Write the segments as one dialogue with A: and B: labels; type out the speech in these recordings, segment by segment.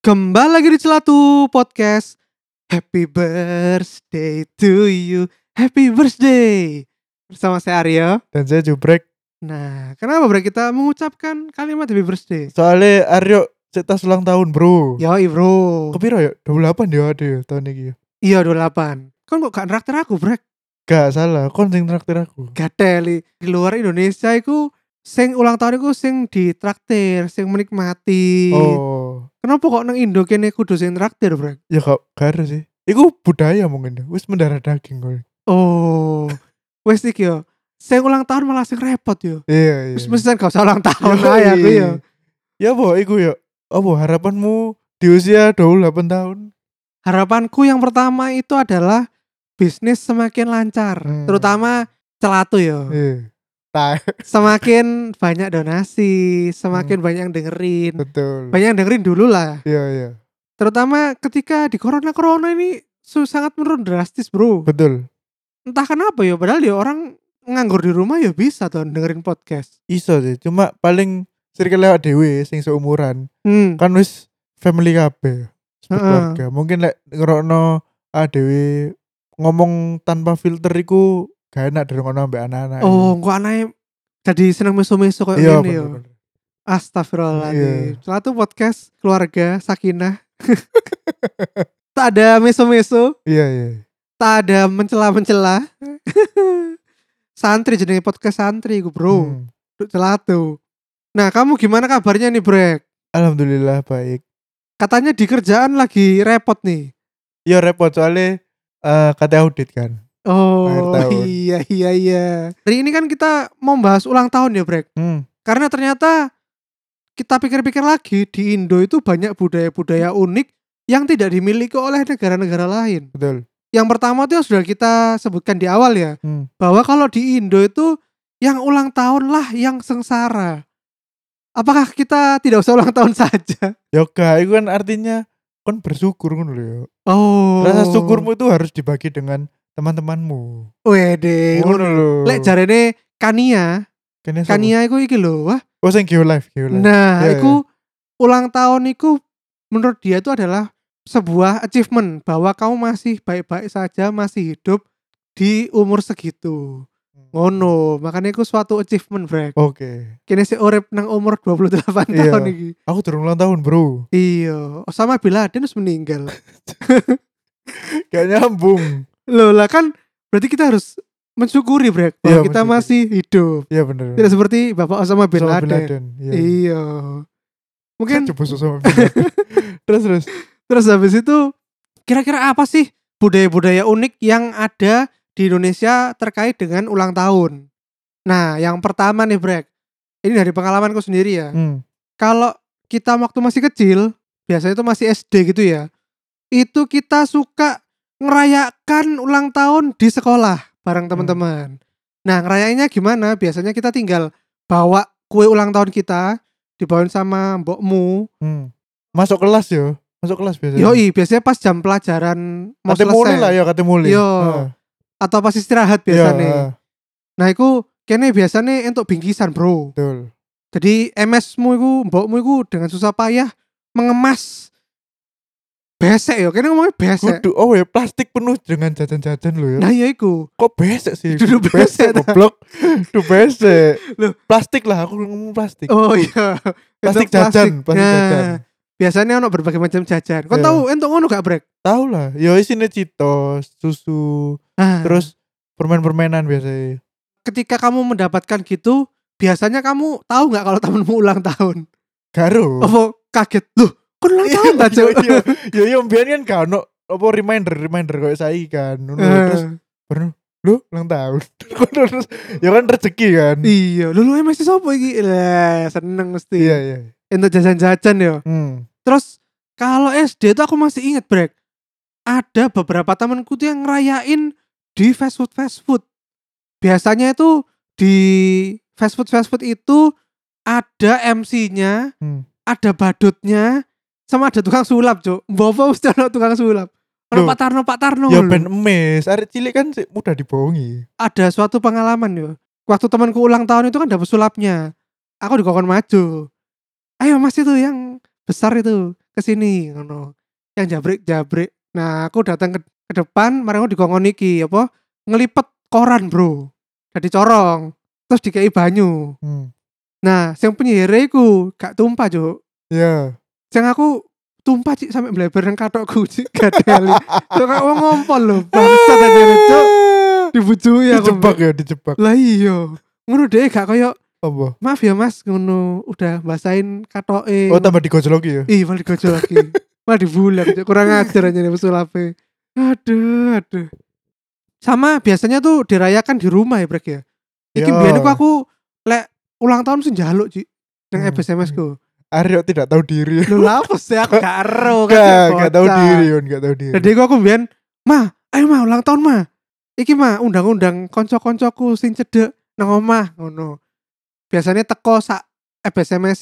A: Kembali lagi di Celatu Podcast. Happy birthday to you. Happy birthday. Bersama saya Aryo.
B: dan saya jubrek
A: Nah, kenapa bro kita mengucapkan kalimat happy birthday?
B: soalnya Aryo cetas ulang tahun bro
A: Yoi bro.
B: kepiro ya 28 ya ada ya tahun ini ya
A: Iya 28. Kan kok gak nraktir aku, Brek?
B: gak salah kon sing traktir aku
A: Gateli. Di luar Indonesia iku sing ulang tahun iku sing ditraktir, sing menikmati.
B: oh
A: Kenapa kok nang Indo kene kudu sing traktir, Brek?
B: ya gak gak ada sih Iku budaya mungkin ya, wis mendarah daging kok.
A: Oh. Wes iki yo. Sing ulang tahun malah sing repot yo.
B: Iya, iya.
A: Wis mesen gak usah ulang tahun
B: Yoi.
A: ae ya, aku yo.
B: Ya boh, iku ya. Apa harapanmu di usia 28 tahun?
A: Harapanku yang pertama itu adalah bisnis semakin lancar,
B: Hmm.
A: terutama celatu ya.
B: Iya. Nah,
A: Semakin banyak donasi,
B: Hmm.
A: semakin banyak yang dengerin.
B: betul.
A: Banyak yang dengerin dulu lah.
B: Iya, iya.
A: Terutama ketika di corona-corona ini su- sangat menurun drastis, Bro.
B: Betul.
A: Entah kenapa ya, padahal ya orang nganggur di rumah ya bisa tuh dengerin podcast.
B: Iso sih, cuma paling circle lewat dewe sing seumuran.
A: Hmm.
B: kan wis family kabeh
A: Heeh.
B: keluarga mungkin lek ngerokno adewe ngomong tanpa filter iku gak enak dari ngono ambek anak-anak
A: Oh, kok anaknya jadi seneng meso-meso kayak
B: Nah, iya
A: gini ya.
B: bener-bener. Iya.
A: Astagfirullahaladzim. Satu podcast keluarga Sakinah. tak ada meso-meso,
B: iya iya
A: tak ada mencela-mencela. santri jenenge podcast santri gue bro.
B: Hmm.
A: Duk Celatu. Nah kamu gimana kabarnya nih Brek?
B: alhamdulillah baik
A: Katanya di kerjaan lagi repot nih.
B: iya repot soalnya eh kata audit kan Akhir
A: Oh
B: tahun.
A: iya iya iya. Hari ini kan kita mau bahas ulang tahun ya Brek.
B: hmm.
A: Karena ternyata kita pikir-pikir lagi di Indo itu banyak budaya-budaya unik yang tidak dimiliki oleh negara-negara lain.
B: betul
A: Yang pertama itu yang sudah kita sebutkan di awal ya,
B: Hmm.
A: bahwa kalau di Indo itu yang ulang tahun lah yang sengsara. Apakah kita tidak usah ulang tahun saja?
B: yoga itu kan artinya kon bersyukur ngono lho ya.
A: Oh.
B: rasa syukurmu itu harus dibagi dengan teman-temanmu
A: Wede.
B: ngono lho
A: Eh, Lek jarene Kania,
B: Kene sapa?
A: Kania iku iki lho. Wah.
B: oh sing geolife geolife
A: Nah,
B: Ya,
A: iku ulang tahun iku menurut dia itu adalah sebuah achievement bahwa kamu masih baik-baik saja, masih hidup di umur segitu. Ngono, makanya iku suatu achievement, Brek.
B: oke
A: Kini si urip nang umur 28
B: Oh. Iya.
A: tahun iki.
B: aku durung ulang tahun bro
A: Iya, Osama Bin Laden harus meninggal.
B: Gak nyambung.
A: Loh lah kan berarti kita harus mensyukuri Brek bahwa
B: Iya,
A: kita
B: mensyukuri.
A: masih hidup.
B: Iya bener.
A: Tidak seperti Bapak Osama Bin
B: Sama
A: Laden.
B: Iya.
A: Iya. Mungkin
B: Saya busuk sama Bin Laden. terus terus.
A: terus habis itu kira-kira apa sih budaya-budaya unik yang ada di Indonesia terkait dengan ulang tahun? Nah, yang pertama nih Brek. Ini dari pengalamanku sendiri ya.
B: Hmm.
A: kalau kita waktu masih kecil, biasanya itu masih SD gitu ya. Itu kita suka ngerayakan ulang tahun di sekolah bareng teman-teman. Nah, ngerayainnya gimana? Biasanya kita tinggal bawa kue ulang tahun kita dibawain sama mbokmu.
B: Hmm. Masuk kelas yo. Masuk kelas biasanya.
A: Yoi, biasanya pas jam pelajaran mau
B: Kate Iya. mulai
A: selesai
B: lah ya kate mulai.
A: Yo, atau pas istirahat biasanya.
B: ah,
A: Nah, itu kene biasanya untuk bingkisan, Bro.
B: betul.
A: Jadi MS-mu iku, mbokmu iku dengan susah payah mengemas besek ya. Kene ngomongnya besek.
B: Kudu oh ya plastik penuh dengan jajan-jajan lo ya.
A: Nah, ya iku.
B: Kok besek sih?
A: Duduk
B: Kudu
A: besek, dah.
B: goblok. Duh besek.
A: Loh.
B: Plastik lah aku ngomong plastik.
A: Oh Nah. iya.
B: Plastik
A: Entuk
B: jajan, plastik jajan.
A: Biasanya ono berbagai macam jajan. Kau
B: Iya.
A: tahu entuk ngono gak, Brek?
B: Tahu lah. Yo isine Citos, susu,
A: Ah,
B: terus permen-permenan biasanya.
A: ketika kamu mendapatkan gitu, biasanya kamu tahu nggak kalau temenmu ulang tahun?
B: Garo.
A: Apa kaget? Loh, kan
B: Iya,
A: ulang tahun ta, Cuk?
B: Yo yo yo mbiyen kan gak ono apa reminder reminder koyo saiki kan. Ngono. Terus
A: Eh,
B: lu ulang tahun. terus ya kan rezeki kan.
A: Iya, lu lu MS sopo iki? Lah, seneng
B: Iya
A: mesti.
B: iya.
A: Entuk jajan-jajan ya.
B: Hmm.
A: Terus kalau SD itu aku masih inget Brek. Ada beberapa temanku tuh yang ngerayain di fast food fast food. Biasanya itu di fast food fast food itu ada MC-nya,
B: Hmm.
A: ada badutnya, sama ada tukang sulap, Cuk. Bawa mesti ada tukang sulap. Ono
B: Loh.
A: Pak Tarno, Pak Tarno.
B: Ya
A: lho.
B: ben emes, arek cilik kan sih mudah dibohongi.
A: ada suatu pengalaman yo. Waktu temanku ulang tahun itu kan dapet sulapnya. Aku dikokon maju. Ayo Mas itu yang besar itu ke sini ngono. Yang jabrik jabrik. Nah, aku datang ke, ke depan, mari aku dikokon iki apa? Ngelipet koran, Bro. Jadi corong, terus dikei banyu.
B: Hmm.
A: Nah, yang penyihirnya iku gak tumpah, Cuk.
B: Ya,
A: Yang aku tumpah cik sampai bleber nang katokku cik gak teli. Terus aku ngompol lho, bangsat aja Cuk. Dibujui aku.
B: Ah. Dijebak ya, dijebak.
A: Lah iya. Ngono deh gak koyo
B: Apa?
A: maaf ya Mas ngono udah basahin katoke.
B: Oh, tambah digojloki ya.
A: Ih, malah digojol lagi. malah dibulak Cuk. kurang ajar aja nih pesulape. Aduh, aduh. Sama biasanya tuh dirayakan di rumah ya, Brek ya. Iki
B: Yo.
A: biyen iku aku lek ulang tahun sing njaluk, Ci. Nang
B: Hmm.
A: SMS ku.
B: Arek tidak tahu diri.
A: Lho lha apa sih aku gak ero kan, Cuk,
B: Gak, gak tahu
A: bocah.
B: diri, Yon, gak tahu diri.
A: Jadi aku biyen, "Ma, ayo ma ulang tahun ma." Iki ma undang-undang kanca-kancaku sing cedek nang omah ngono. Biasanya teko sak SMS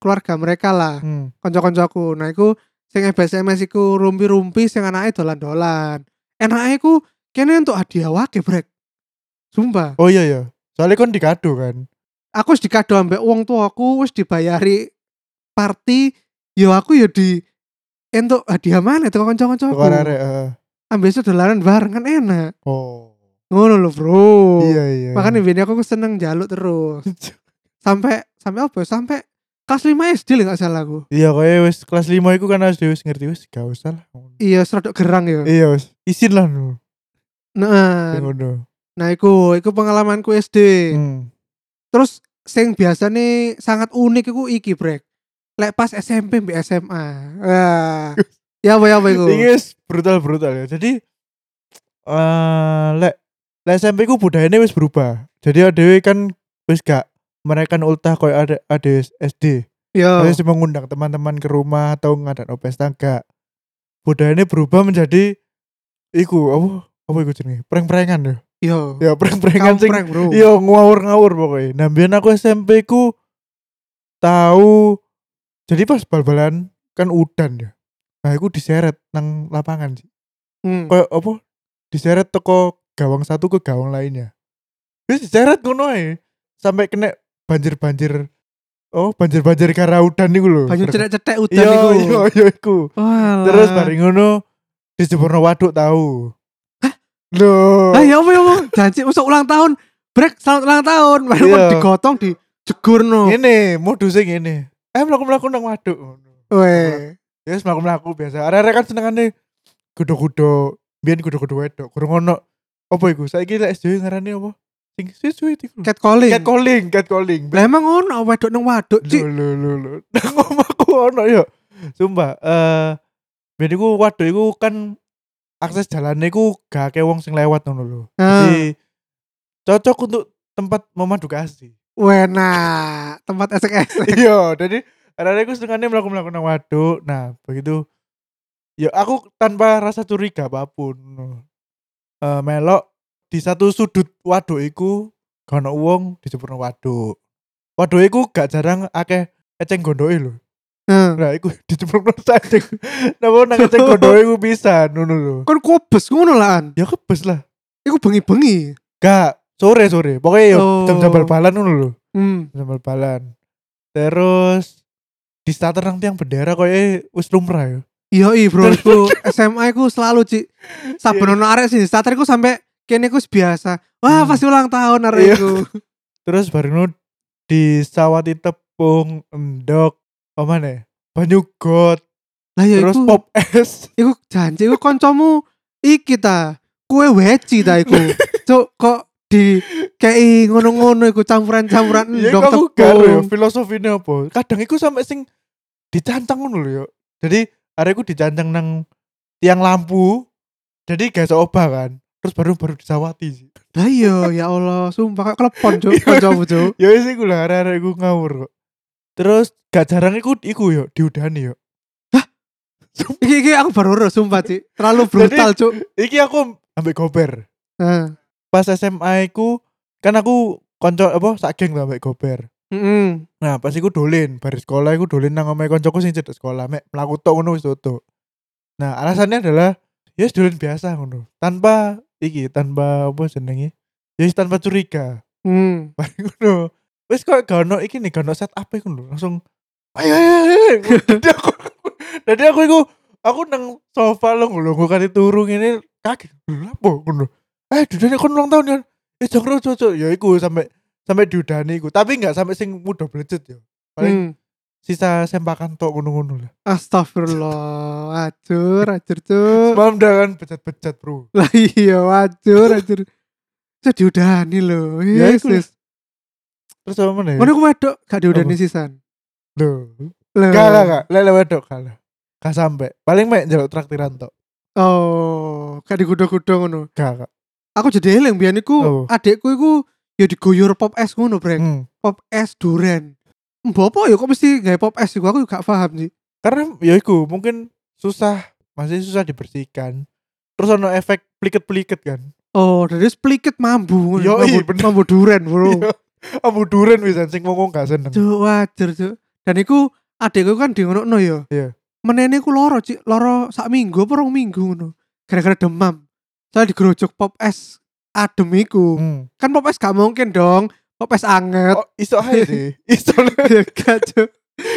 A: keluarga mereka lah,
B: Hmm.
A: kanca-kancaku. Nah, iku sing SMS iku rumpi-rumpi sing anake dolan-dolan. Enake iku kene untuk hadiah wake, Brek. Sumpah,
B: Oh iya ya. Soalnya kan dikado kan.
A: aku wis dikado ambek wong tuaku wis dibayari party, yo aku yo di entuk hadiah mana teko kanca-kancaku.
B: Tukar arek. eh.
A: ambil sedolaran bareng kan enak
B: Oh.
A: ngono loh bro
B: Iya iya.
A: makanya bini aku seneng jaluk terus sampai sampai apa ya? sampai kelas 5 SD lah gak salah aku
B: Iya kaya wis kelas 5 iku kan harus wis ngerti wis gak usah lah.
A: iya serodok gerang ya
B: Iya wis. Isin lah no.
A: nah
B: Ngono.
A: nah iku iku pengalamanku SD
B: Hmm.
A: terus sing biasa nih sangat unik iku iki brek lek pas SMP mbek SMA Wah. ya apa ya apa iku
B: Ini wis brutal-brutal ya. Jadi eh lek lek SMP ku budayane wis berubah. Jadi adewe kan wis gak merekan ultah koyo ada ada SD.
A: yo
B: Saya cuma ngundang teman-teman ke rumah atau ngadain pesta enggak. Budayane berubah menjadi iku apa apa iku jenenge? Prank-prankan ya.
A: yo
B: Ya prank-prankan sing
A: kampreng bro
B: Iya ngawur-ngawur pokoknya. Nah biyen aku SMP ku tahu jadi pas bal-balan kan udan ya. Nah aku diseret nang lapangan sih.
A: Hmm.
B: Kayak apa? Diseret teko gawang satu ke gawang lainnya. Terus diseret ngono ae. Sampai kena banjir-banjir Oh, banjir-banjir karena udan niku lho.
A: banyu cetek-cetek udan Ah.
B: Iya,
A: iku
B: iya, iya iku.
A: Walah.
B: Terus bari ngono dijeburno waduk tahu. Hah? Loh.
A: Ah ya apa ya apa? janji usah ulang tahun. Brek selamat ulang tahun. Baru
B: Iya.
A: digotong di jegurno.
B: Ini modusnya gini. Eh mlaku-mlaku nang waduk ngono.
A: Weh.
B: Ya wis mlaku-mlaku biasa. Arek-arek kan senengane gudo-gudo, biyen gudo-gudo wedok. Kurang ono apa iku? Saiki lek SD ngarani apa? Sing suwi-suwi iku.
A: Cat calling.
B: Cat calling, Iya. cat calling.
A: Lah emang ono wedok nang waduk, Cik.
B: Lho lho lho lho. Nang omahku ono ya. Sumpah, eh biyen iku waduh iku kan akses jalannya iku gak akeh wong sing lewat ngono lho.
A: Nah,
B: Jadi cocok untuk tempat memadu kasih.
A: Wena, nah, tempat esek-esek.
B: iya jadi karena aku setengahnya melakukan melakukan waduk nah begitu ya aku tanpa rasa curiga apapun Eh, melok di satu sudut waduk iku gak ono wong di sepurno waduk waduk iku gak jarang akeh eceng gondoke lho
A: Nah,
B: nah iku di sepurno saja nah nang eceng gondoke iku bisa ngono lho
A: Kon kobes ngono lah an.
B: ya kebes lah
A: Iku bengi-bengi.
B: gak sore sore pokoknya ya
A: Oh.
B: jam-jam bal-balan ngono lho
A: Hmm.
B: jam bal-balan terus di starter nang tiang bendera kok wis lumrah ya
A: Iya iya bro, iku SMA ku selalu Cik. Saben ono arek sini starter ku sampe kene ku biasa. Wah,
B: Iya. Hmm.
A: pasti ulang tahun arek
B: Iya.
A: iku.
B: terus baru nu- di sawati tepung endok apa nih banyu got
A: Lah ya
B: terus
A: iku.
B: pop es
A: Iku janji iku kancamu iki ta. Kue weci ta iku. Cuk kok di kei ngono-ngono iku campuran-campuran
B: ya
A: endong
B: aku garo ya
A: tepung.
B: filosofinya apa kadang iku sampai sing dicancang ngono lho ya jadi areku dicancang nang tiang lampu jadi gak iso obah kan terus baru baru disawati sih
A: Lah iya ya Allah, sumpah kok klepon cuk kancamu cuk.
B: ya wis iku lah arek iku ngawur kok terus gak jarang iku iku yo diudani yo
A: Iki iki aku baru ro sumpah Cik. Terlalu brutal cuk. Eh,
B: Iki aku ambek gober.
A: Heeh.
B: Pas SMA ku kan aku konco apa sak geng lah mek gober.
A: Mm-mm.
B: Nah, pas iku dolen bar sekolah iku dolen nang omahe koncoku sing cedek sekolah mek mlaku tok ngono wis tutuk. Nah, alasannya adalah ya yes, dolen biasa ngono. Tanpa iki, tanpa apa jenenge? Ya yes, tanpa curiga.
A: Mm.
B: Bareng ngono. Wis kok gak ono iki nih, gak ono set apa iku lho. Langsung ayo ayo ayo. ayo. Dadi aku Dadi aku iku aku nang sofa lho lho kok kate turu ngene kaget. Lho lapo ngono. Eh, dudane kon ulang tahun ya. Eh, jongro cocok. Ya iku sampai sampai dudane iku. Tapi enggak sampai sing mudah belejet ya.
A: Mm.
B: Paling sisa sempakan tok ngono-ngono lah.
A: Astagfirullah, acur, acur cuk.
B: Semalam dah kan becet-becet, Bro.
A: Lah iya, acur, acur. Saya diudani lho.
B: Ya,
A: Yes,
B: iku lho.
A: yes.
B: Terus apa meneh?
A: Mana aku wedok gak diudani sisan.
B: Lho.
A: Lho.
B: Enggak, enggak, enggak. Lele wedok kalah. Gak sampai. Paling mek njaluk traktiran tok.
A: Oh, gak digudo-gudo ngono.
B: Enggak, enggak.
A: Aku jadi eling biyen iku
B: Oh.
A: adekku iku ya digoyor pop es ngono, Brek.
B: Hmm.
A: Pop es duren. Mbok apa ya kok mesti gawe pop es iku aku gak paham sih.
B: Karena ya iku mungkin susah, masih susah dibersihkan. Terus ono efek pliket-pliket kan.
A: Oh, dari spliket mambu ngono.
B: Yoi,
A: Mambu-
B: bener.
A: Mambu duren, Bro.
B: Iya. Ambu duren wisan sing wong gak seneng.
A: Cuk, wajar, cuk. Dan iku adekku kan di ngono ya.
B: Iya.
A: Menene ku loro, Cik. Loro sak minggu apa rong minggu ngono. Gara-gara demam. Saya digerojok pop es adem iku.
B: Hmm.
A: Kan pop es gak mungkin dong. Pop es anget.
B: Oh, iso ae sih. Iso le-
A: ya gak, cuk.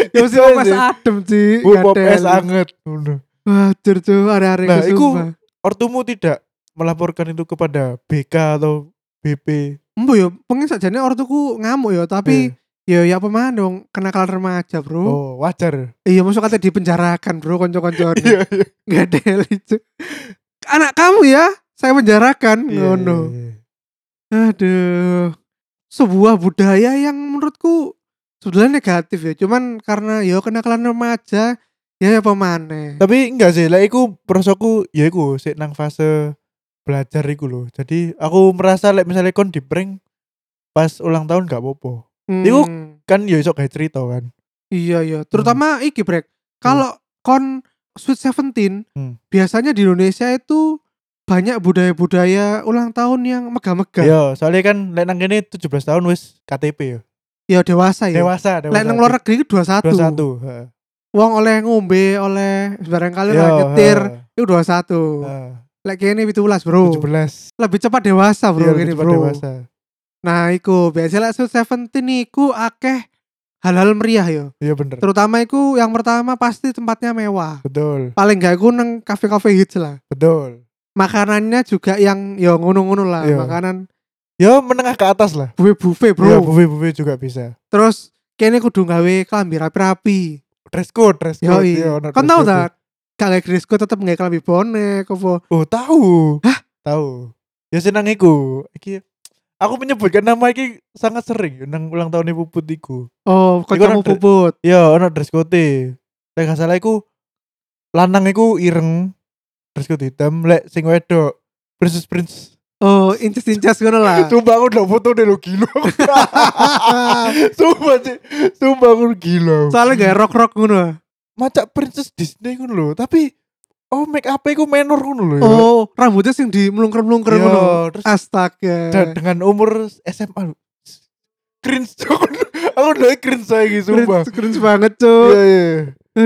A: Ya mesti
B: iso
A: pop
B: ae
A: es
B: sih.
A: adem, Cik.
B: Bu, pop
A: Gadel.
B: es anget. Ngono.
A: Wajar, cuk. Hari-hari
B: Nah,
A: ku,
B: iku-
A: sumpah.
B: Ortumu tidak melaporkan itu kepada BK atau BP.
A: Embo ya, pengen sajane ortuku ngamuk ya, tapi ya ya apa mana dong kenakalan remaja, Bro.
B: Eh, Iya. Oh, wajar.
A: Iya, masuk kate dipenjarakan, Bro, kanca-kancane.
B: Iya, iya.
A: Gak ada yang lucu. Anak kamu ya, saya penjarakan.
B: Iya,
A: Ngono.
B: iya, iya.
A: Aduh. Sebuah budaya yang menurutku sebenarnya negatif ya. Cuman karena ya kenakalan remaja, ya apa maneh.
B: Tapi enggak sih, lah iku prosoku ya iku sik nang fase belajar iku lho. Jadi aku merasa lek misalnya kon di prank pas ulang tahun gak apa-apa.
A: Hmm,
B: iku- Kan ya iso gawe cerita kan.
A: Iya, iya. Terutama iki, Brek. Kalau kon Sweet Seventeen,
B: Hmm.
A: biasanya di Indonesia itu banyak budaya-budaya ulang tahun yang megah-megah.
B: Iya, soalnya kan lek nang kene 17 tahun wis KTP ya.
A: Ya dewasa ya.
B: Dewasa, dewasa.
A: Lek nang luar negeri itu 21.
B: 21. heeh.
A: Wong oleh ngombe, oleh barang kali
B: Yo,
A: lah nyetir.
B: heeh,
A: Itu 21.
B: heeh.
A: Lek kene 17, Bro.
B: 17.
A: Lebih cepat dewasa, Bro,
B: Iya,
A: kene,
B: cepat
A: Bro.
B: dewasa.
A: Nah, iku biasanya lek Sweet 17 iku akeh hal-hal meriah yo.
B: Iya bener.
A: Terutama iku yang pertama pasti tempatnya mewah.
B: Betul,
A: Paling gak iku nang kafe-kafe hits lah.
B: betul.
A: Makanannya juga yang yo ngono-ngono lah,
B: Iya.
A: makanan
B: Yo Ya, menengah ke atas lah.
A: buffet-buffet, Bro.
B: Iya, buffet-buffet juga bisa.
A: Terus kene kudu gawe kelambi rapi-rapi.
B: Dress code, dress
A: Yo,
B: code. iya,
A: iya.
B: ono
A: Kan
B: dress
A: tau
B: code.
A: tak? Kalau Grisku tetep nggak kelambi bonek, apa?
B: Oh tahu. Hah? Tahu. Ya senang iku. Iki aku menyebutkan nama iki sangat sering nang ulang tahun ibu putiku.
A: Oh,
B: Iku
A: kancamu
B: nang dre-
A: puput.
B: Ya ono dress code. Lek gak salah iku lanang iku ireng dress code hitam, lek sing wedok princess prince.
A: Oh, inces-inces ngono lah.
B: Sumpah aku udah foto deh lo gila. Sumpah sih. Sumpah aku gila.
A: Soalnya gak rock-rock ngono.
B: Macak princess Disney ngono lho, tapi oh make up iku menor ngono lho. ya.
A: Oh, rambutnya sing di melungker-melungker
B: Iya,
A: ngono.
B: terus
A: Astaga.
B: dan dengan umur SMA lu cringe aku aku udah cringe lagi sumpah
A: Cringe- cringe banget,
B: iya
A: Cuk.
B: iya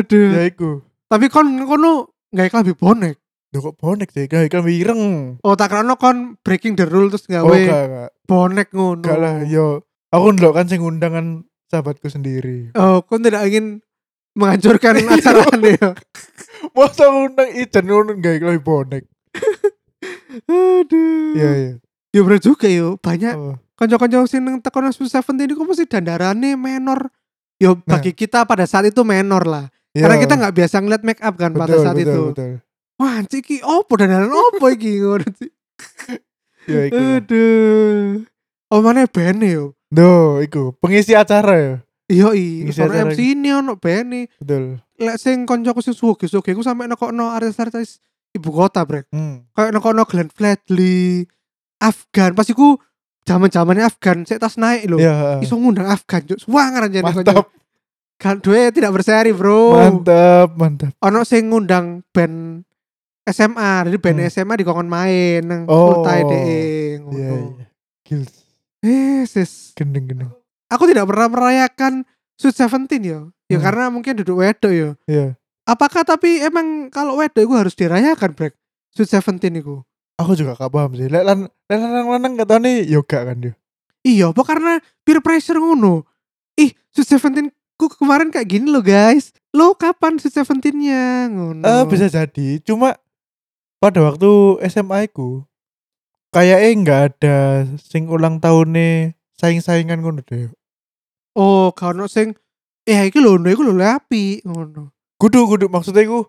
A: Aduh.
B: ya iku
A: Tapi kon kono gak kelambi bonek.
B: Duh, kok bonek sih gak ikan ireng
A: Oh, tak kerana kon breaking the rule terus gawe
B: oh gak gak
A: bonek ngono.
B: gak lah yo aku ndelok kan sing undangan sahabatku sendiri
A: Oh, kon tidak ingin menghancurkan acara ini ya.
B: masa aku undang Ijen ngono gak ikan bonek
A: Aduh.
B: iya iya
A: Ya bener juga yo, banyak
B: Oh,
A: kanca-kanca sing nang tekan Sweet Seventeen iku mesti dandarane menor. Yo
B: Nah.
A: bagi kita pada saat itu menor lah.
B: iya.
A: Karena kita nggak biasa ngeliat make up kan pada
B: Betul,
A: saat
B: betul,
A: itu.
B: betul.
A: Wah, anjir iki opo dandanan opo iki ngono sih.
B: Iya, iku.
A: Aduh. Oh mana band yo.
B: Duh, iku pengisi acara ya.
A: Iya i,
B: Ngisi
A: ono
B: acara
A: MC ini ono band e.
B: Betul.
A: Lek sing kancaku sing sugih-sugih ku sampe nekokno artis-artis ibu kota, Brek.
B: Hmm.
A: Kayak nekokno Glenn Fredly, Afgan. Pas iku zaman-zamannya Afgan sik tas naik lho.
B: Iya, heeh.
A: Iso ngundang Afgan, Cuk. Suwangar anjene
B: mantap,
A: Kan duwe tidak berseri, Bro.
B: mantap, mantap.
A: ono sing ngundang band SMA jadi band
B: Hmm.
A: SMA dikongkon main nang oh,
B: Oh.
A: Ultai DE
B: Iya,
A: ngono.
B: iya. Gils.
A: Eh, sis.
B: gendeng gendeng
A: Aku tidak pernah merayakan Sweet Seventeen yo. Ya
B: Hmm.
A: karena mungkin duduk wedok yo.
B: iya
A: Apakah tapi emang kalau wedok itu harus dirayakan, Brek? Sweet Seventeen itu.
B: aku juga gak paham sih lek lan lek lanang lanang gak tau nih yoga kan dia
A: Iya, apa karena peer pressure ngono? Ih, Sweet Seventeen ku kemarin kayak gini loh, guys. Lo kapan Sweet Seventeen-nya? Ngono.
B: eh bisa jadi cuma pada waktu SMA ku kayaknya nggak ada sing ulang tahunnya saing-saingan ngono deh
A: Oh, kalau sing ya iki lho, iku lho api ngono.
B: kudu kudu maksudnya ku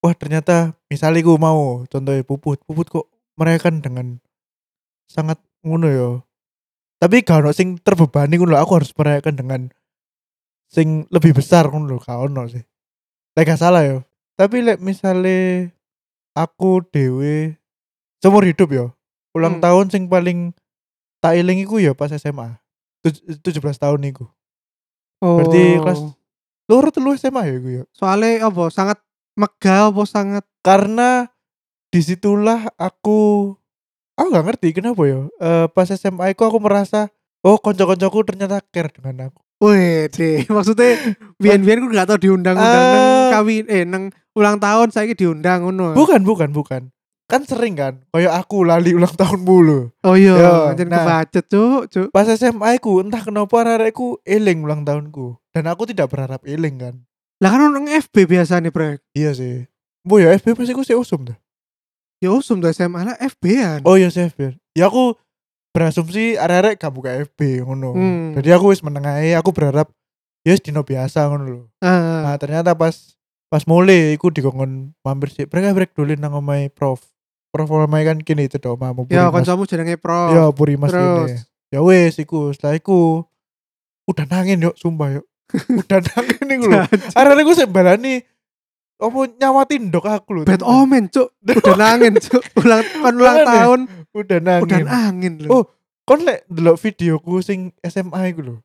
B: wah ternyata misalnya ku mau contohnya puput puput kok merayakan dengan sangat ngono yo tapi gak ono sing terbebani ngono lho, aku harus merayakan dengan sing lebih besar ngono lho gak ono sih lek gak salah yo tapi lek misalnya aku dewe seumur hidup yo ulang
A: Hmm.
B: tahun sing paling tak eling iku ya pas SMA Tuj- 17 tahun iku
A: Oh.
B: Berarti kelas- loro telu SMA ya iku ya
A: soalnya apa sangat megah apa sangat
B: karena disitulah aku aku nggak ngerti kenapa ya Eh, pas SMA aku aku merasa oh konco-koncoku ternyata care dengan aku
A: Wih, maksudnya biar-biar gue gak tau diundang-undang neng
B: Ah.
A: kawin eh neng ulang tahun saya diundang ngono.
B: bukan bukan bukan kan sering kan kayak aku lali ulang tahun mulu
A: Oh iya,
B: Yo,
A: anjen
B: nah.
A: kebacet cuk, cuk.
B: pas SMA aku entah kenapa rareku eling ulang tahunku dan aku tidak berharap eling kan
A: Lah kan orang FB biasa nih, Brek.
B: iya sih bu ya FB pasti aku sih usum dah
A: Ya usum tuh SMA lah FB-an.
B: oh iya sih FB ya aku berasumsi arek-arek gak buka FB ngono
A: Hmm.
B: jadi aku wis menengahi aku berharap ya yes, dino biasa ngono loh
A: Ah,
B: Nah ternyata pas pas mulai iku dikongkon mampir sih. Mereka break dulu nang omahe Prof. Prof omahe kan kini itu dong mamu
A: ya
B: Purimas.
A: kancamu jenenge Pro.
B: Ya Purimas
A: Terus.
B: ini. Ya wes iku setelah iku udah nangin yuk sumpah yuk. udah nangin iku lho. Arek iku sik balani opo nyawatin dok aku lho.
A: Bad
B: Temen.
A: omen, oh, cuk. Udah nangin, cuk. Ulang kan ulang
B: Beneran ya?
A: tahun,
B: Udah
A: udah
B: nangin.
A: angin
B: Oh,
A: loh.
B: Kon lek ndelok videoku sing SMA iku lho.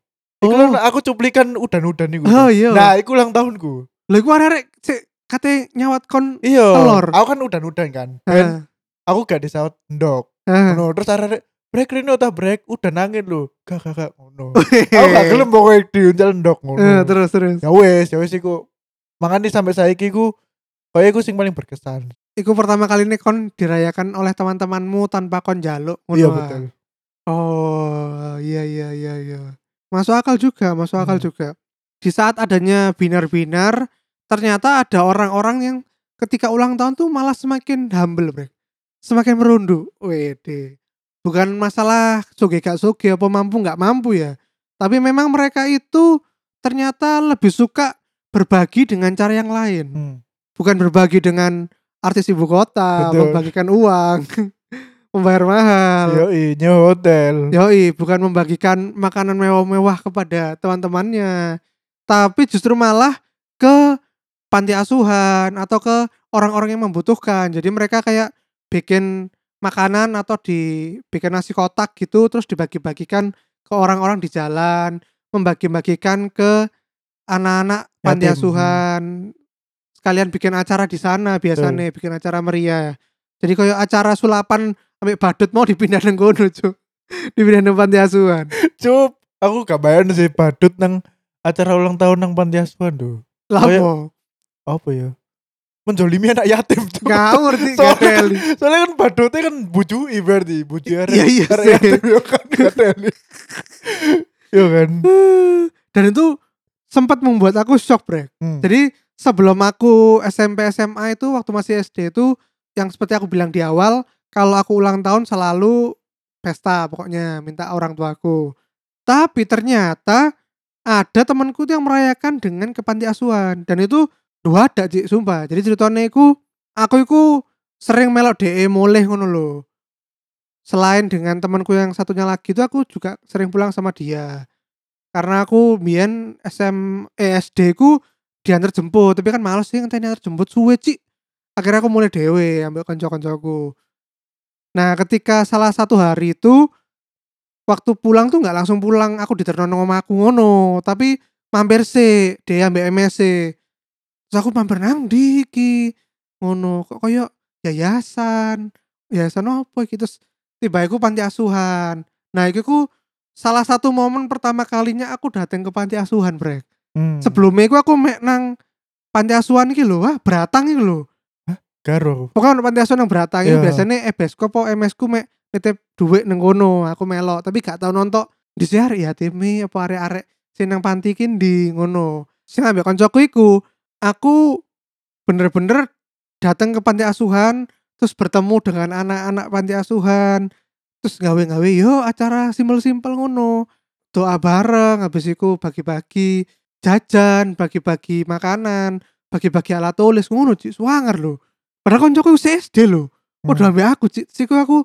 B: Iku lho aku cuplikan udan-udan iku.
A: Oh, iya.
B: Nah, iku ulang tahunku.
A: Lha iku arek sik kate nyawat kon.
B: Iya.
A: Telur.
B: Aku kan udan-udan kan. Dan
A: Heeh.
B: aku gak disawat ndok.
A: Eh.
B: ngono terus arek break rene ta break udah nangin lho gak gak gak ngono aku gak gelem pokoknya diuncal ndok ngono
A: Oh, iya, Eh, terus terus.
B: ya wes ya wes iku makanya sampai saiki ku kayak iku sing paling berkesan
A: Iku pertama kali ini kon dirayakan oleh teman-temanmu tanpa kon jaluk. ngono
B: iya
A: ah.
B: betul
A: Oh, iya iya iya iya. Masuk akal juga, masuk akal
B: Hmm.
A: juga. Di saat adanya binar-binar, ternyata ada orang-orang yang ketika ulang tahun tuh malah semakin humble, Brek. Semakin merunduk. Wede. Bukan masalah suge gak suge apa mampu nggak mampu ya. Tapi memang mereka itu ternyata lebih suka berbagi dengan cara yang lain.
B: Hmm.
A: Bukan berbagi dengan artis ibu kota,
B: Betul.
A: membagikan uang, membayar mahal.
B: Yoi, nyewa hotel
A: Yoi, bukan membagikan makanan mewah-mewah kepada teman-temannya, tapi justru malah ke panti asuhan atau ke orang-orang yang membutuhkan. Jadi mereka kayak bikin makanan atau dibikin nasi kotak gitu, terus dibagi-bagikan ke orang-orang di jalan, membagi-bagikan ke anak-anak panti
B: Yatim,
A: asuhan. Sekalian bikin acara di sana biasanya, bikin acara meriah. Jadi kayak acara sulapan ambek badut mau dipindah nang kono, Cuk. Dipindah nang panti asuhan.
B: cup aku gak bayar sih badut nang acara ulang tahun nang panti asuhan tuh
A: Lah
B: Kayak-
A: apa?
B: apa ya menjolimi anak yatim tuh
A: Gak ngerti
B: Soalnya-
A: gak teli.
B: soalnya kan badutnya kan bujui berarti buju arek-
A: Iya, iya
B: arek
A: sih.
B: yatim ya kan gak teli. Iya kan
A: Dan itu sempat membuat aku shock, Brek.
B: Hmm.
A: Jadi sebelum aku SMP SMA itu waktu masih SD itu yang seperti aku bilang di awal, kalau aku ulang tahun selalu pesta pokoknya minta orang tuaku. Tapi ternyata ada temanku tuh yang merayakan dengan ke panti asuhan dan itu dua ada Cik, sumpah. Jadi ceritanya iku aku iku sering melok DE mulih ngono lho. Selain dengan temanku yang satunya lagi itu aku juga sering pulang sama dia. Karena aku biyen SM eh, SD ku diantar jemput, tapi kan males sih ngenteni antar jemput suwe, Cik. Akhirnya aku mulai dewe ambil kanca-kancaku. Nah, ketika salah satu hari itu waktu pulang tuh nggak langsung pulang, aku diterno nang omahku ngono, tapi mampir sih dia ambek MSC. Terus aku mampir nang ndi iki? Ngono, kok koyo yayasan. Yayasan apa iki terus tiba iku panti asuhan. Nah, iki ku salah satu momen pertama kalinya aku datang ke panti asuhan brek
B: Hmm.
A: sebelumnya iku aku mek nang panti asuhan iki lho wah beratang iki lho
B: Garo.
A: pokoknya nang panti asuhan nang beratang iki
B: Iya.
A: gitu. biasanya EBS ku apa MS ku mek nitip duit nang kono aku melok tapi gak tau nonton di sehari ya timi apa arek-arek sing nang panti iki di ngono sing ambek koncoku iku aku bener-bener datang ke panti asuhan terus bertemu dengan anak-anak panti asuhan terus gawe-gawe yo acara simpel-simpel ngono doa bareng habis iku bagi-bagi jajan bagi-bagi makanan bagi-bagi alat tulis ngono cik suwanger lho padahal koncoku wis SD lho
B: Hmm.
A: Padahal ambek aku cik siku aku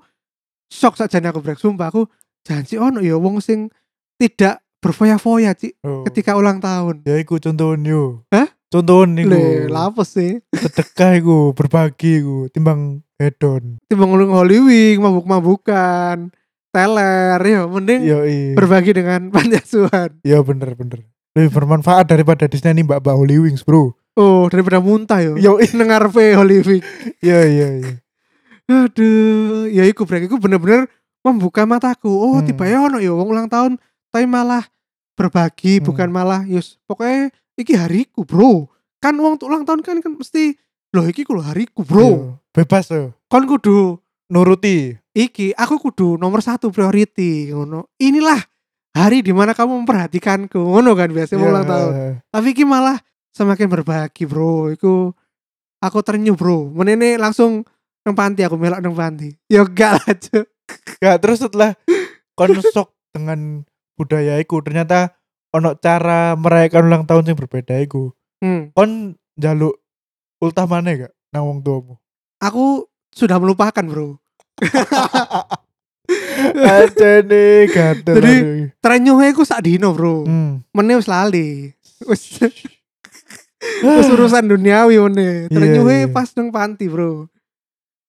A: shock sakjane aku brek sumpah aku janji ono ya wong sing tidak berfoya-foya cik
B: Oh.
A: ketika ulang tahun
B: Ya iku contohon yo.
A: Hah?
B: Contohon iku.
A: le lapes sih
B: Sedekah iku, berbagi iku, timbang hedon.
A: timbang ngulung Halloween mabuk-mabukan teler ya mending
B: Yo iya.
A: berbagi dengan panti asuhan
B: Iya bener bener. Lebih bermanfaat daripada Disney Mbak Mbak Holy Wings, Bro.
A: oh daripada muntah yo
B: Yo iya.
A: dengar pe Halloween
B: Iya iya iya.
A: aduh ya iku brek iku bener-bener membuka mataku oh
B: Hmm.
A: tiba ya ono ya wong ulang tahun tapi malah berbagi
B: Hmm.
A: bukan malah yus pokoknya iki hariku bro kan wong tuh ulang tahun kan kan mesti loh iki ku lho hariku bro
B: Iya. Bebas yo.
A: kon kudu
B: Nuruti.
A: iki aku kudu nomor satu priority ngono inilah hari dimana kamu memperhatikanku ngono kan biasanya wong
B: Iya.
A: ulang tahun tapi iki malah semakin berbagi bro iku aku ternyuh bro menene langsung nang panti aku melok nang panti ya gak lah Cuk.
B: Gak Ya, terus setelah konsok dengan budaya iku ternyata ono cara merayakan ulang tahun yang berbeda iku.
A: Hmm.
B: Kon jaluk ultamane gak nang wong tuamu?
A: aku sudah melupakan bro
B: Aja nih gatel.
A: Jadi,
B: aduh.
A: ternyuhnya aku sak dino bro
B: hmm.
A: meneh wis lali wis
B: Eh,
A: wis urusan duniawi meneh
B: Iya,
A: ternyuhnya
B: iya.
A: pas nang panti bro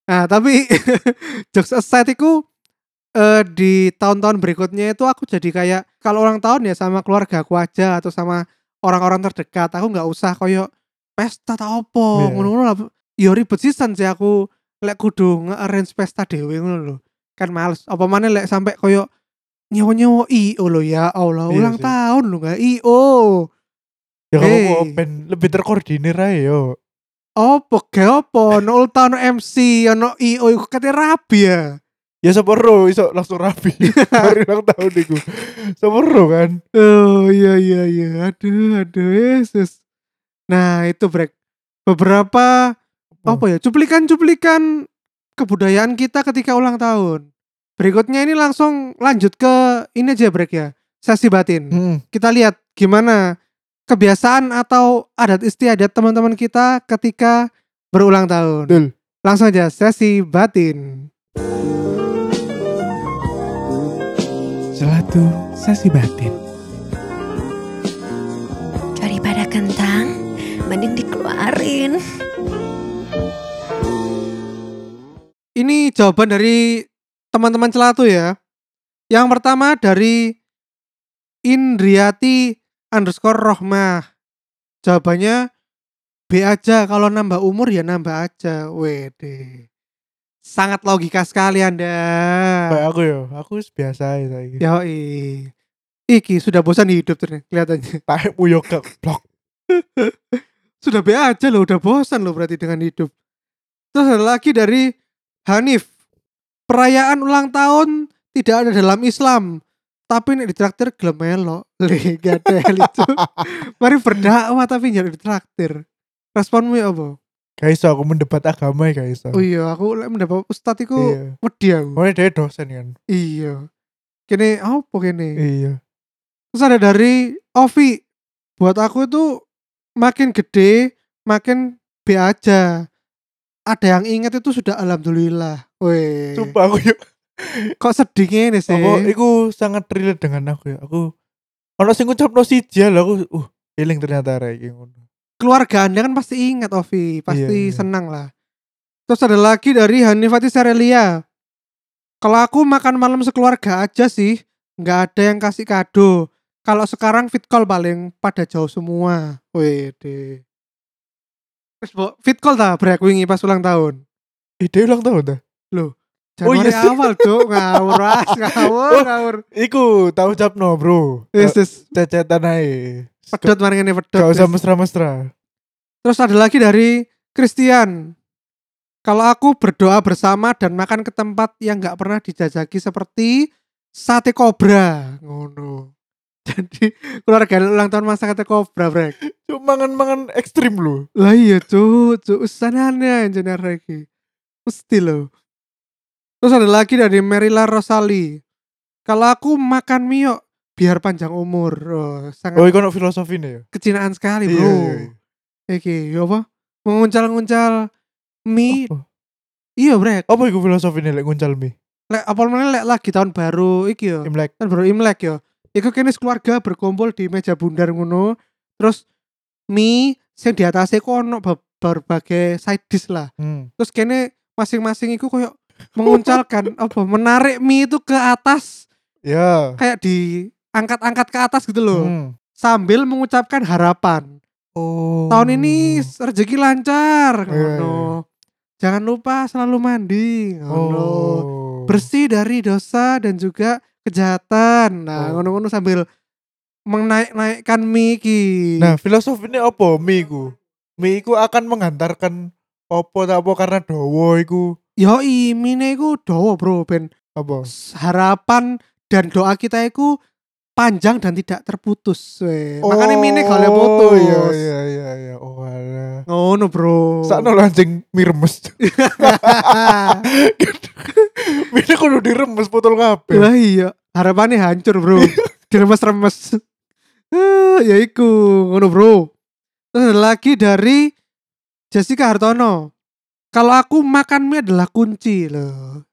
A: nah tapi jokes aside iku eh, di tahun-tahun berikutnya itu aku jadi kayak kalau ulang tahun ya sama keluarga aku aja atau sama orang-orang terdekat aku nggak usah koyo pesta tak opo
B: Iya.
A: ngono-ngono lah ya ribet sisan sih aku lek kudu nge-arrange pesta dhewe ngono lho kan males apa maneh lek sampai koyo nyewa-nyewa IO lho ya Allah
B: Iya
A: ulang
B: sih.
A: tahun lho gak IO
B: ya kamu
A: Hey.
B: kok open lebih terkoordinir aja yo.
A: opo ge opo no ulta no MC ono IO iku kate rabi ya
B: Ya sepuro iso langsung rapi. Hari ulang tahun iku. Sepuro kan.
A: oh iya iya iya aduh aduh Yesus nah itu break beberapa
B: Apa?
A: apa ya cuplikan-cuplikan kebudayaan kita ketika ulang tahun berikutnya ini langsung lanjut ke ini aja break ya sesi batin
B: Hmm.
A: kita lihat gimana kebiasaan atau adat istiadat teman-teman kita ketika berulang tahun.
B: Betul.
A: Langsung aja sesi batin.
B: Selatu sesi batin.
C: Daripada kentang, mending dikeluarin.
A: Ini jawaban dari teman-teman celatu ya. Yang pertama dari Indriati underscore Rohmah. Jawabannya B aja kalau nambah umur ya nambah aja. Wede. Sangat logika sekali Anda.
B: Kayak aku yo, aku wis biasa aja saiki.
A: Ya Iki sudah bosan hidup ternyata kelihatannya.
B: Tahe yo gak blok.
A: Sudah be aja loh, udah bosan loh berarti dengan hidup. Terus ada lagi dari Hanif. Perayaan ulang tahun tidak ada dalam Islam. Tapi nek ditraktir gelem melo. Lih, gak ada hal itu. Mari berdakwah tapi jangan ditraktir. Responmu ya apa?
B: Gak iso aku mendebat agama ya gak iso.
A: Oh iya, aku lek mendapat ustadz iku
B: Iya.
A: wedi aku.
B: Pokoknya dia dosen kan.
A: Iya. Kene apa kene?
B: Iya.
A: Terus ada dari Ovi. Buat aku itu makin gede, makin B aja. Ada yang ingat itu sudah alhamdulillah. Weh.
B: Sumpah aku yo.
A: Kok sedih ini sih?
B: Aku iku sangat relate dengan aku ya. Aku ono sing ngucapno siji lho aku uh eling ternyata rek iki ngono.
A: Keluarga Anda kan pasti ingat Ovi, pasti
B: Iya, iya.
A: senang lah. Terus ada lagi dari Hanifati Sarelia. Kalau aku makan malam sekeluarga aja sih, nggak ada yang kasih kado. Kalau sekarang fit call paling pada jauh semua. Wih, deh. Terus Bo, fit call ta brek wingi pas ulang tahun.
B: Ide ulang tahun dah. Oh,
A: Januari
B: iya sih.
A: awal cuk ngawur as ngawur
B: Oh.
A: ngawur.
B: Iku tahu cap no bro.
A: Yes, yes.
B: Eh, Cecetan aja.
A: Pedot mari ngene pedot.
B: Gak usah
A: yes.
B: mesra-mesra.
A: Terus ada lagi dari Christian. Kalau aku berdoa bersama dan makan ke tempat yang nggak pernah dijajaki seperti sate kobra, ngono. Jadi keluarga ulang tahun masak sate kobra, brek.
B: Cuma mangan-mangan ekstrim lu.
A: Lah iya tuh, tuh usanane engineer lagi. Mesti loh. Terus ada lagi dari Merila Rosali. Kalau aku makan mio biar panjang umur. Oh, sangat
B: Oh, iku ono filosofi nih ya.
A: kecinaan sekali, Bro.
B: Iya, iya, iya.
A: Iki, yo apa? Menguncal-nguncal mie.
B: Apa?
A: Iya, Brek.
B: Apa iku filosofi nih lek nguncal mie?
A: Lek apa meneh lek lagi tahun baru iki yo.
B: Imlek.
A: Tahun baru Imlek yo. Iku kene keluarga berkumpul di meja bundar ngono. Terus mie sing di atasnya ku ono be- berbagai side dish lah.
B: Hmm.
A: terus kene masing-masing iku koyo menguncalkan apa menarik mie itu ke atas
B: Ya.
A: kayak diangkat-angkat ke atas gitu loh
B: Hmm.
A: sambil mengucapkan harapan
B: Oh.
A: tahun ini s- rezeki lancar
B: Iya, iya.
A: ngono. jangan lupa selalu mandi ngono.
B: Oh.
A: bersih dari dosa dan juga kejahatan nah
B: Oh.
A: ngono-ngono sambil menaik-naikkan mie ki
B: Nah, filosofinya apa mie iku? Mie iku akan mengantarkan apa tak apa karena dawa iku
A: yoi mie iku dawa bro ben
B: apa?
A: harapan dan doa kita itu panjang dan tidak terputus. weh.
B: Oh.
A: Makanya mine gak boleh putus.
B: Iya iya iya iya. Oh alah.
A: Ngono, bro.
B: Sakno lho anjing mie remes. mie ini kudu diremes potol kabeh.
A: Lah iya, harapannya hancur, bro. Diremes-remes. Eh, ya iku, ngono, bro. Terus ada lagi dari Jessica Hartono. Kalau aku makan mie adalah kunci loh.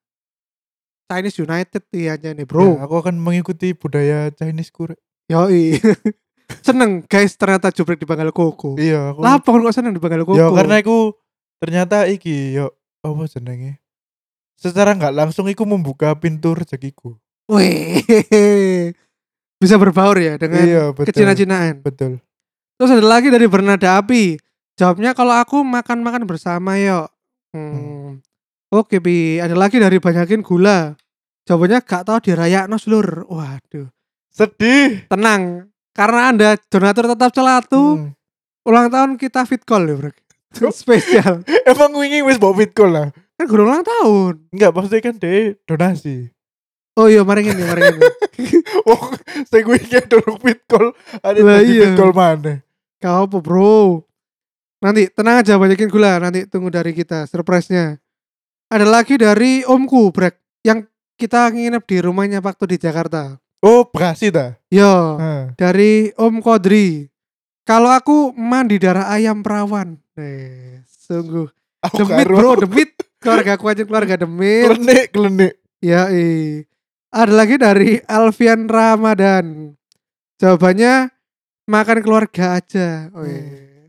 A: Chinese United ianya nih, bro.
B: Ya, aku akan mengikuti budaya Chinese kure.
A: Yoi. seneng guys ternyata jubrek di Banggal Koko.
B: Iya, aku.
A: Lah apa kok seneng di Banggal Koko?
B: Ya karena iku ternyata iki yo apa jenenge? Secara nggak langsung iku membuka pintu rezekiku.
A: Wih. Bisa berbaur ya dengan
B: Iya, betul.
A: kecina-cinaan.
B: Betul.
A: Terus ada lagi dari Bernada Api. Jawabnya kalau aku makan-makan bersama yuk. Hmm. Oke, Pi. Ada lagi dari Banyakin Gula. Jawabannya gak tahu dirayakno lur. Waduh.
B: Sedih.
A: Tenang. Karena Anda donatur tetap celatu.
B: Hmm.
A: Ulang tahun kita fit call ya, Bro. Spesial.
B: Emang wingi wis mbok Bitcoin lah.
A: Kan guru ulang tahun.
B: Enggak, maksudnya kan deh donasi.
A: Oh iya, mari ngene, mari ngene.
B: Wong saya gue ingin dorong Bitcoin, ada
A: Lah
B: di
A: iya.
B: Bitcoin mana?
A: Kau apa bro? Nanti tenang aja banyakin gula nanti tunggu dari kita surprise-nya. Ada lagi dari omku Brek yang kita nginep di rumahnya waktu di Jakarta.
B: Oh, Bekasi dah. Nah.
A: Yo, dari Om Kodri. Kalau aku mandi darah ayam perawan. Eh, sungguh
B: Aku
A: demit
B: karo.
A: bro, demit. Keluarga aku aja keluarga demit.
B: Klenik, klenik.
A: Ya, ada lagi dari Alfian Ramadan. Jawabannya makan keluarga aja. Oh,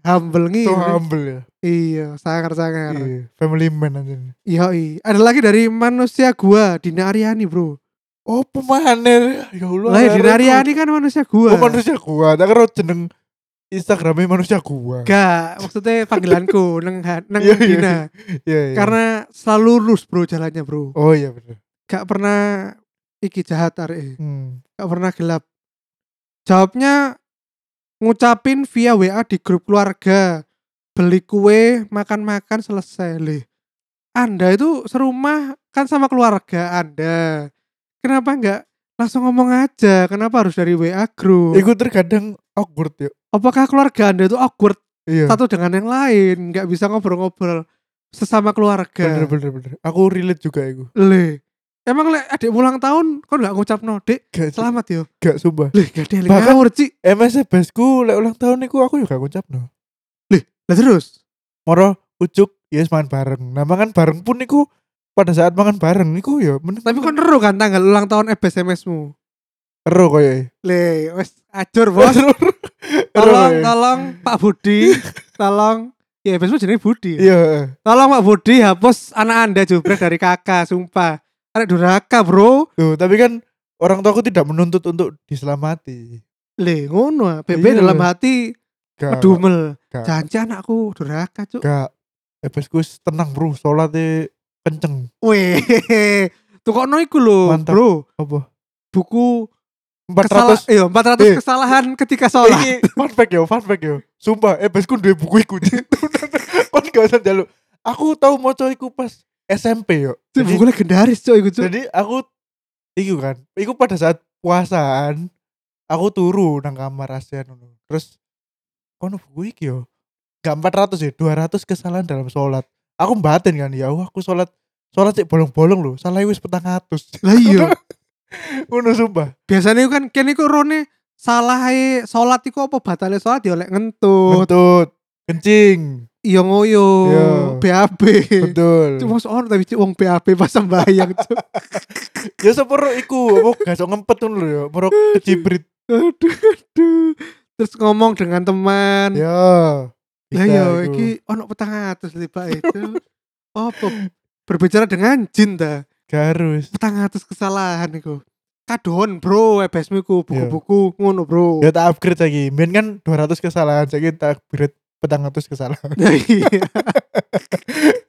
A: Humble nih.
B: So Hmm. humble ya.
A: Iya, sangar-sangar.
B: Iya, family man aja.
A: Iya, iya. Ada lagi dari manusia gua, Dina Aryani, Bro.
B: Oh, pemaner. Ya Allah.
A: Lah, ya, Dina
B: aku-
A: Aryani kan manusia gua.
B: Oh, manusia gua. Tak kira jeneng Instagramnya manusia gua.
A: Gak, maksudnya panggilanku neng Han- neng
B: Iya, iya,
A: Dina.
B: Iya, iya.
A: Karena selalu lurus, Bro, jalannya, Bro.
B: Oh iya benar.
A: Gak pernah iki jahat arek,
B: Hmm.
A: gak pernah gelap. Jawabnya ngucapin via WA di grup keluarga. Beli kue, makan-makan selesai. Lih. Anda itu serumah kan sama keluarga Anda. Kenapa enggak langsung ngomong aja? Kenapa harus dari WA group?
B: Iku terkadang awkward ya.
A: Apakah keluarga Anda itu awkward
B: Iya.
A: satu dengan yang lain, nggak bisa ngobrol-ngobrol sesama
B: Bener
A: keluarga?
B: bener bener. Aku relate juga iku.
A: Le. Emang lek adik ulang tahun kok nggak ngucap no, Dek?
B: Gak
A: Selamat yo.
B: gak sumpah.
A: Lih, gak ada yang
B: Bahkan-
A: ngawur, Ci.
B: MSC bestku lek ulang tahun iku aku juga ngucap no.
A: Lah terus.
B: Moro ujuk yes makan bareng. Nah makan bareng pun iku pada saat makan bareng iku ya meneng
A: Tapi kok neru kan tanggal ulang tahun FBSMS-mu?
B: ero ya. koyo.
A: Le, wes acur, Bos. tolong,
B: ya.
A: tolong Pak Budi, tolong Ya, FBSMS jenenge Budi. ya?
B: Iya.
A: Tolong Pak Budi hapus anak Anda jubrek dari kakak, sumpah. Arek durhaka, Bro.
B: Tuh, tapi kan orang tuaku tidak menuntut untuk diselamati.
A: Le, ngono. Bebe
B: Iya.
A: dalam hati
B: Gak.
A: kedumel.
B: gak.
A: Janji anakku durhaka, Cuk.
B: Gak. Eh besku tenang bro, sholat kenceng
A: Weh, tukokno iku lho,
B: Mantap.
A: Bro.
B: apa
A: Buku kesalahan
B: 400
A: iya 400
B: Eh.
A: kesalahan ketika sholat.
B: ini fun fact yo fun fact yo sumpah eh besku duwe buku iku kon gak usah njaluk aku tau maca iku pas SMP yo
A: Itu
B: Jadi-
A: buku legendaris coy iku coy.
B: Jadi aku iku kan, iku pada saat puasaan aku turu nang kamar ASEAN ngono. Terus kono buku iki yo. Gak 400 ya, 200 kesalahan dalam sholat Aku mbatin kan, ya Allah aku sholat sholat sih bolong-bolong loh, salah wis petang atus.
A: Lah iya.
B: Ngono sumpah.
A: Biasanya iku kan kene iku rone salah sholat iku apa batalnya sholat ya oleh ngentut,
B: Betul. Kencing.
A: iya ngoyo,
B: Iya.
A: BAB.
B: Betul.
A: Cuma soal tapi cik, wong BAB pas sembahyang cuk.
B: Ya sepuro iku, apa gak sok ngempet ngono lho ya, poro kecibrit.
A: Aduh, aduh. Terus ngomong dengan teman.
B: Ya.
A: Lah
B: bisa
A: iya
B: iku.
A: iki ono 400 tiba itu. ya, Apa berbicara dengan jin ta?
B: garus.
A: petang atas kesalahan iku. Kadohon bro, ebesmu iku
B: Iya.
A: buku-buku ngono bro.
B: Ya tak upgrade lagi. Mien kan 200 kesalahan, saya tak upgrade petang atus kesalahan.
A: Nah, iya,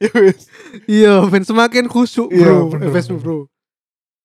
B: Ya wis.
A: iya, ben semakin khusuk
B: Iya,
A: bro,
B: bener.
A: ebesmu bro.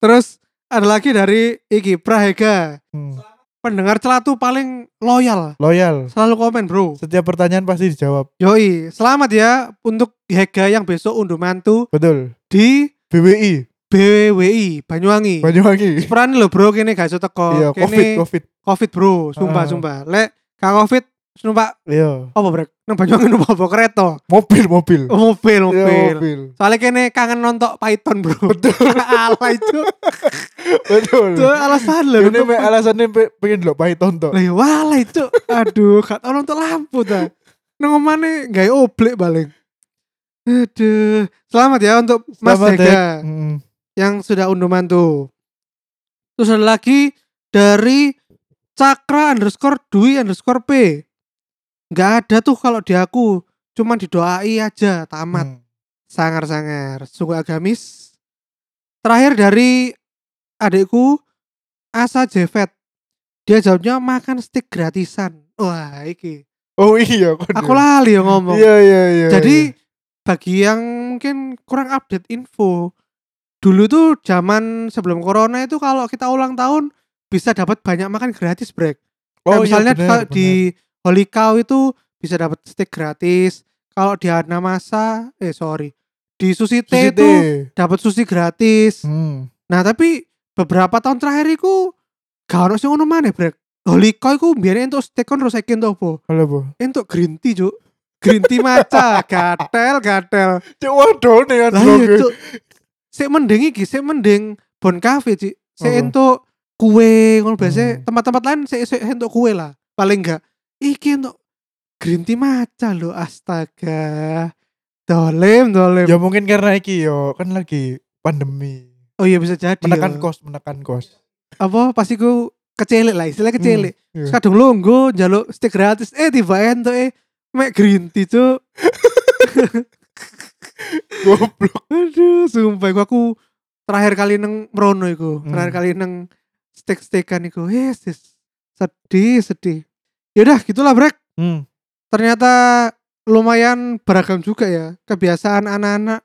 A: Terus ada lagi dari iki Prahega,
B: Hmm,
A: pendengar celatu paling loyal,
B: Loyal.
A: selalu komen bro.
B: Setiap pertanyaan pasti dijawab.
A: Yoi, selamat ya untuk Hega yang besok unduh mantu
B: Betul.
A: di
B: BWI,
A: BWI Banyuwangi.
B: Banyuwangi.
A: Seperan lo bro, kene gak iso teko.
B: Iya,
A: Kene
B: Covid, Covid.
A: Covid, bro, sumpah
B: Ah.
A: sumpah. Lek kak Covid numpak
B: Iya.
A: apa brek nang Banyuwangi numpak apa kereta
B: Mobil, mobil.
A: Oh, mobil
B: Iya,
A: mobil
B: mobil.
A: soalnya kene kangen nonton Python bro betul ala itu
B: Betul.
A: itu alasan lho
B: Ini
A: nonton
B: me alasannya pe- pengen lo Python tok.
A: Lah ya wala itu aduh gak tau nonton lampu ta nang omane gawe oblek balik aduh selamat ya untuk Mas
B: Selamat,
A: Dega
B: Dek. Mm,
A: yang sudah unduh mantu terus ada lagi dari Cakra underscore Dwi underscore P nggak ada tuh kalau di aku cuman didoai aja tamat
B: mm.
A: sangar-sangar sungguh agamis terakhir dari adikku Asa Jevet dia jawabnya makan steak gratisan wah iki
B: Oh iya, kon
A: aku
B: ya.
A: lali ya ngomong
B: Iya, iya, iya.
A: jadi bagi yang mungkin kurang update info dulu tuh zaman sebelum corona itu kalau kita ulang tahun bisa dapat banyak makan gratis break
B: iya.
A: Kayak
B: iya,
A: misalnya
B: bener,
A: kalau
B: bener.
A: di Holy Cow itu bisa dapat steak gratis. Kalau di Hanamasa, eh sorry, di Sushi
B: Sushi
A: Teh
B: T.
A: itu dapat sushi gratis.
B: Hmm.
A: Nah tapi beberapa tahun terakhir itu gak ono sing ngono maneh, Brek. Holy Cow itu biasanya untuk steak kon rusakin to apa?
B: Halo, Bu.
A: Untuk green tea, Cuk. Green tea maca, gatel gatel.
B: Cek waduh nih kan.
A: Lah iya, Cuk. Sik mending iki, sik mending Bon Cafe, Cik. Sik
B: Apa?
A: entuk kue ngono biasanya
B: Hmm.
A: tempat-tempat lain sik sik entuk kue lah. Paling enggak iki entuk green tea maca lho, astaga. Dolem, dolem.
B: Ya mungkin karena iki yo, kan lagi pandemi.
A: Oh iya bisa jadi.
B: Menekan
A: ya.
B: kos, menekan kos.
A: Apa pasti ku kecelik lah, istilah kecelik.
B: iya.
A: Terus Kadung longgo njaluk stick gratis. Eh tiba entuk eh mek green tea, Cuk.
B: Goblok.
A: Aduh, sumpah iku aku terakhir kali neng Mrono iku,
B: Hmm.
A: terakhir kali neng steak-steakan iku. Yes, yes. Sedih, sedih. Yaudah, gitulah Brek.
B: Hmm.
A: Ternyata lumayan beragam juga ya kebiasaan anak-anak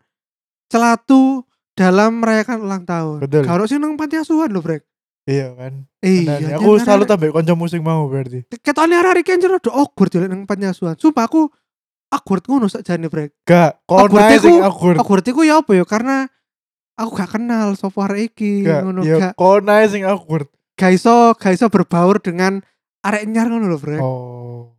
A: celatu dalam merayakan ulang tahun.
B: Betul.
A: Kalau sih neng panti asuhan loh Brek.
B: Iya kan.
A: Iya.
B: aku selalu tambah konco musik mau berarti.
A: Ketone hari-hari kan jero do awkward yo lek neng panti asuhan. Sumpah aku awkward ngono sakjane Brek.
B: Gak, kon
A: Awkward
B: ae
A: iku-
B: sing awkward.
A: Awkward iku ya apa ya? Karena aku gak kenal sopo arek iki
B: Gak,
A: iya, ngono
B: ya
A: gak.
B: kon ae sing awkward.
A: gak iso gak iso berbaur dengan arek nyar ngono lho, Brek.
B: Oh.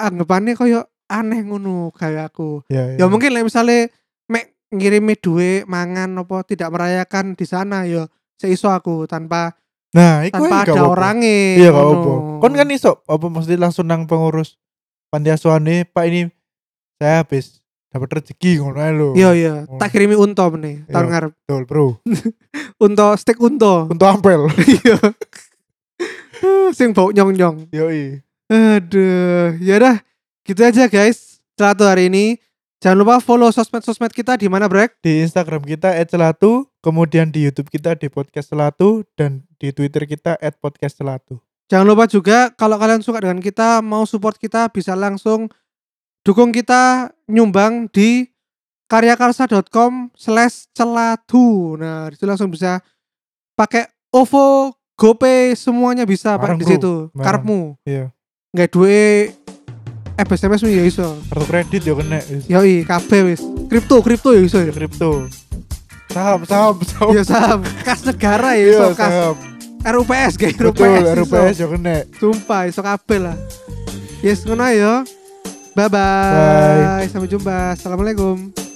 A: Anggapannya koyo aneh ngono kayak aku.
B: Ya,
A: Ya mungkin lah misalnya mek ngirimi duit mangan apa tidak merayakan di sana ya seiso aku tanpa
B: Nah, iku
A: tanpa
B: ae gak
A: ada
B: apa-apa.
A: orangnya.
B: Iya, gak
A: ngono.
B: apa. Kon kan iso apa mesti langsung nang pengurus panti asuhan nih, Pak ini saya habis dapat rezeki ngono ae lho.
A: Iya iya,
B: Oh.
A: tak kirimi unto meneh tahun
B: Iya.
A: ngarep.
B: Betul, Bro.
A: Unto stik unto.
B: Untuk ampel.
A: Iya. Eh, Sing bau nyong-nyong.
B: Yoi.
A: Aduh, ya dah, gitu aja guys. Celatu hari ini. Jangan lupa follow sosmed-sosmed kita di mana, Brek?
B: Di Instagram kita @celatu, kemudian di YouTube kita di podcast celatu dan di Twitter kita @podcastcelatu.
A: Jangan lupa juga kalau kalian suka dengan kita, mau support kita bisa langsung dukung kita nyumbang di karyakarsa.com slash celadu nah disitu langsung bisa pakai OVO GoPay semuanya bisa pakai
B: Bareng,
A: di
B: bro.
A: situ
B: Bareng.
A: karepmu
B: Iya.
A: nggak duwe SMS ya iso
B: Kartu kredit ya kena. wis.
A: yoi kabeh wis kripto kripto ya iso
B: Ya, kripto. Saham, saham, saham.
A: ya saham kas negara ya
B: Iya,
A: iso kas
B: saham.
A: RUPS kayak
B: Betul,
A: RUPS iso.
B: RUPS ya kena.
A: sumpah iso kabeh lah yes ngono ya bye bye
B: Bye.
A: sampai jumpa assalamualaikum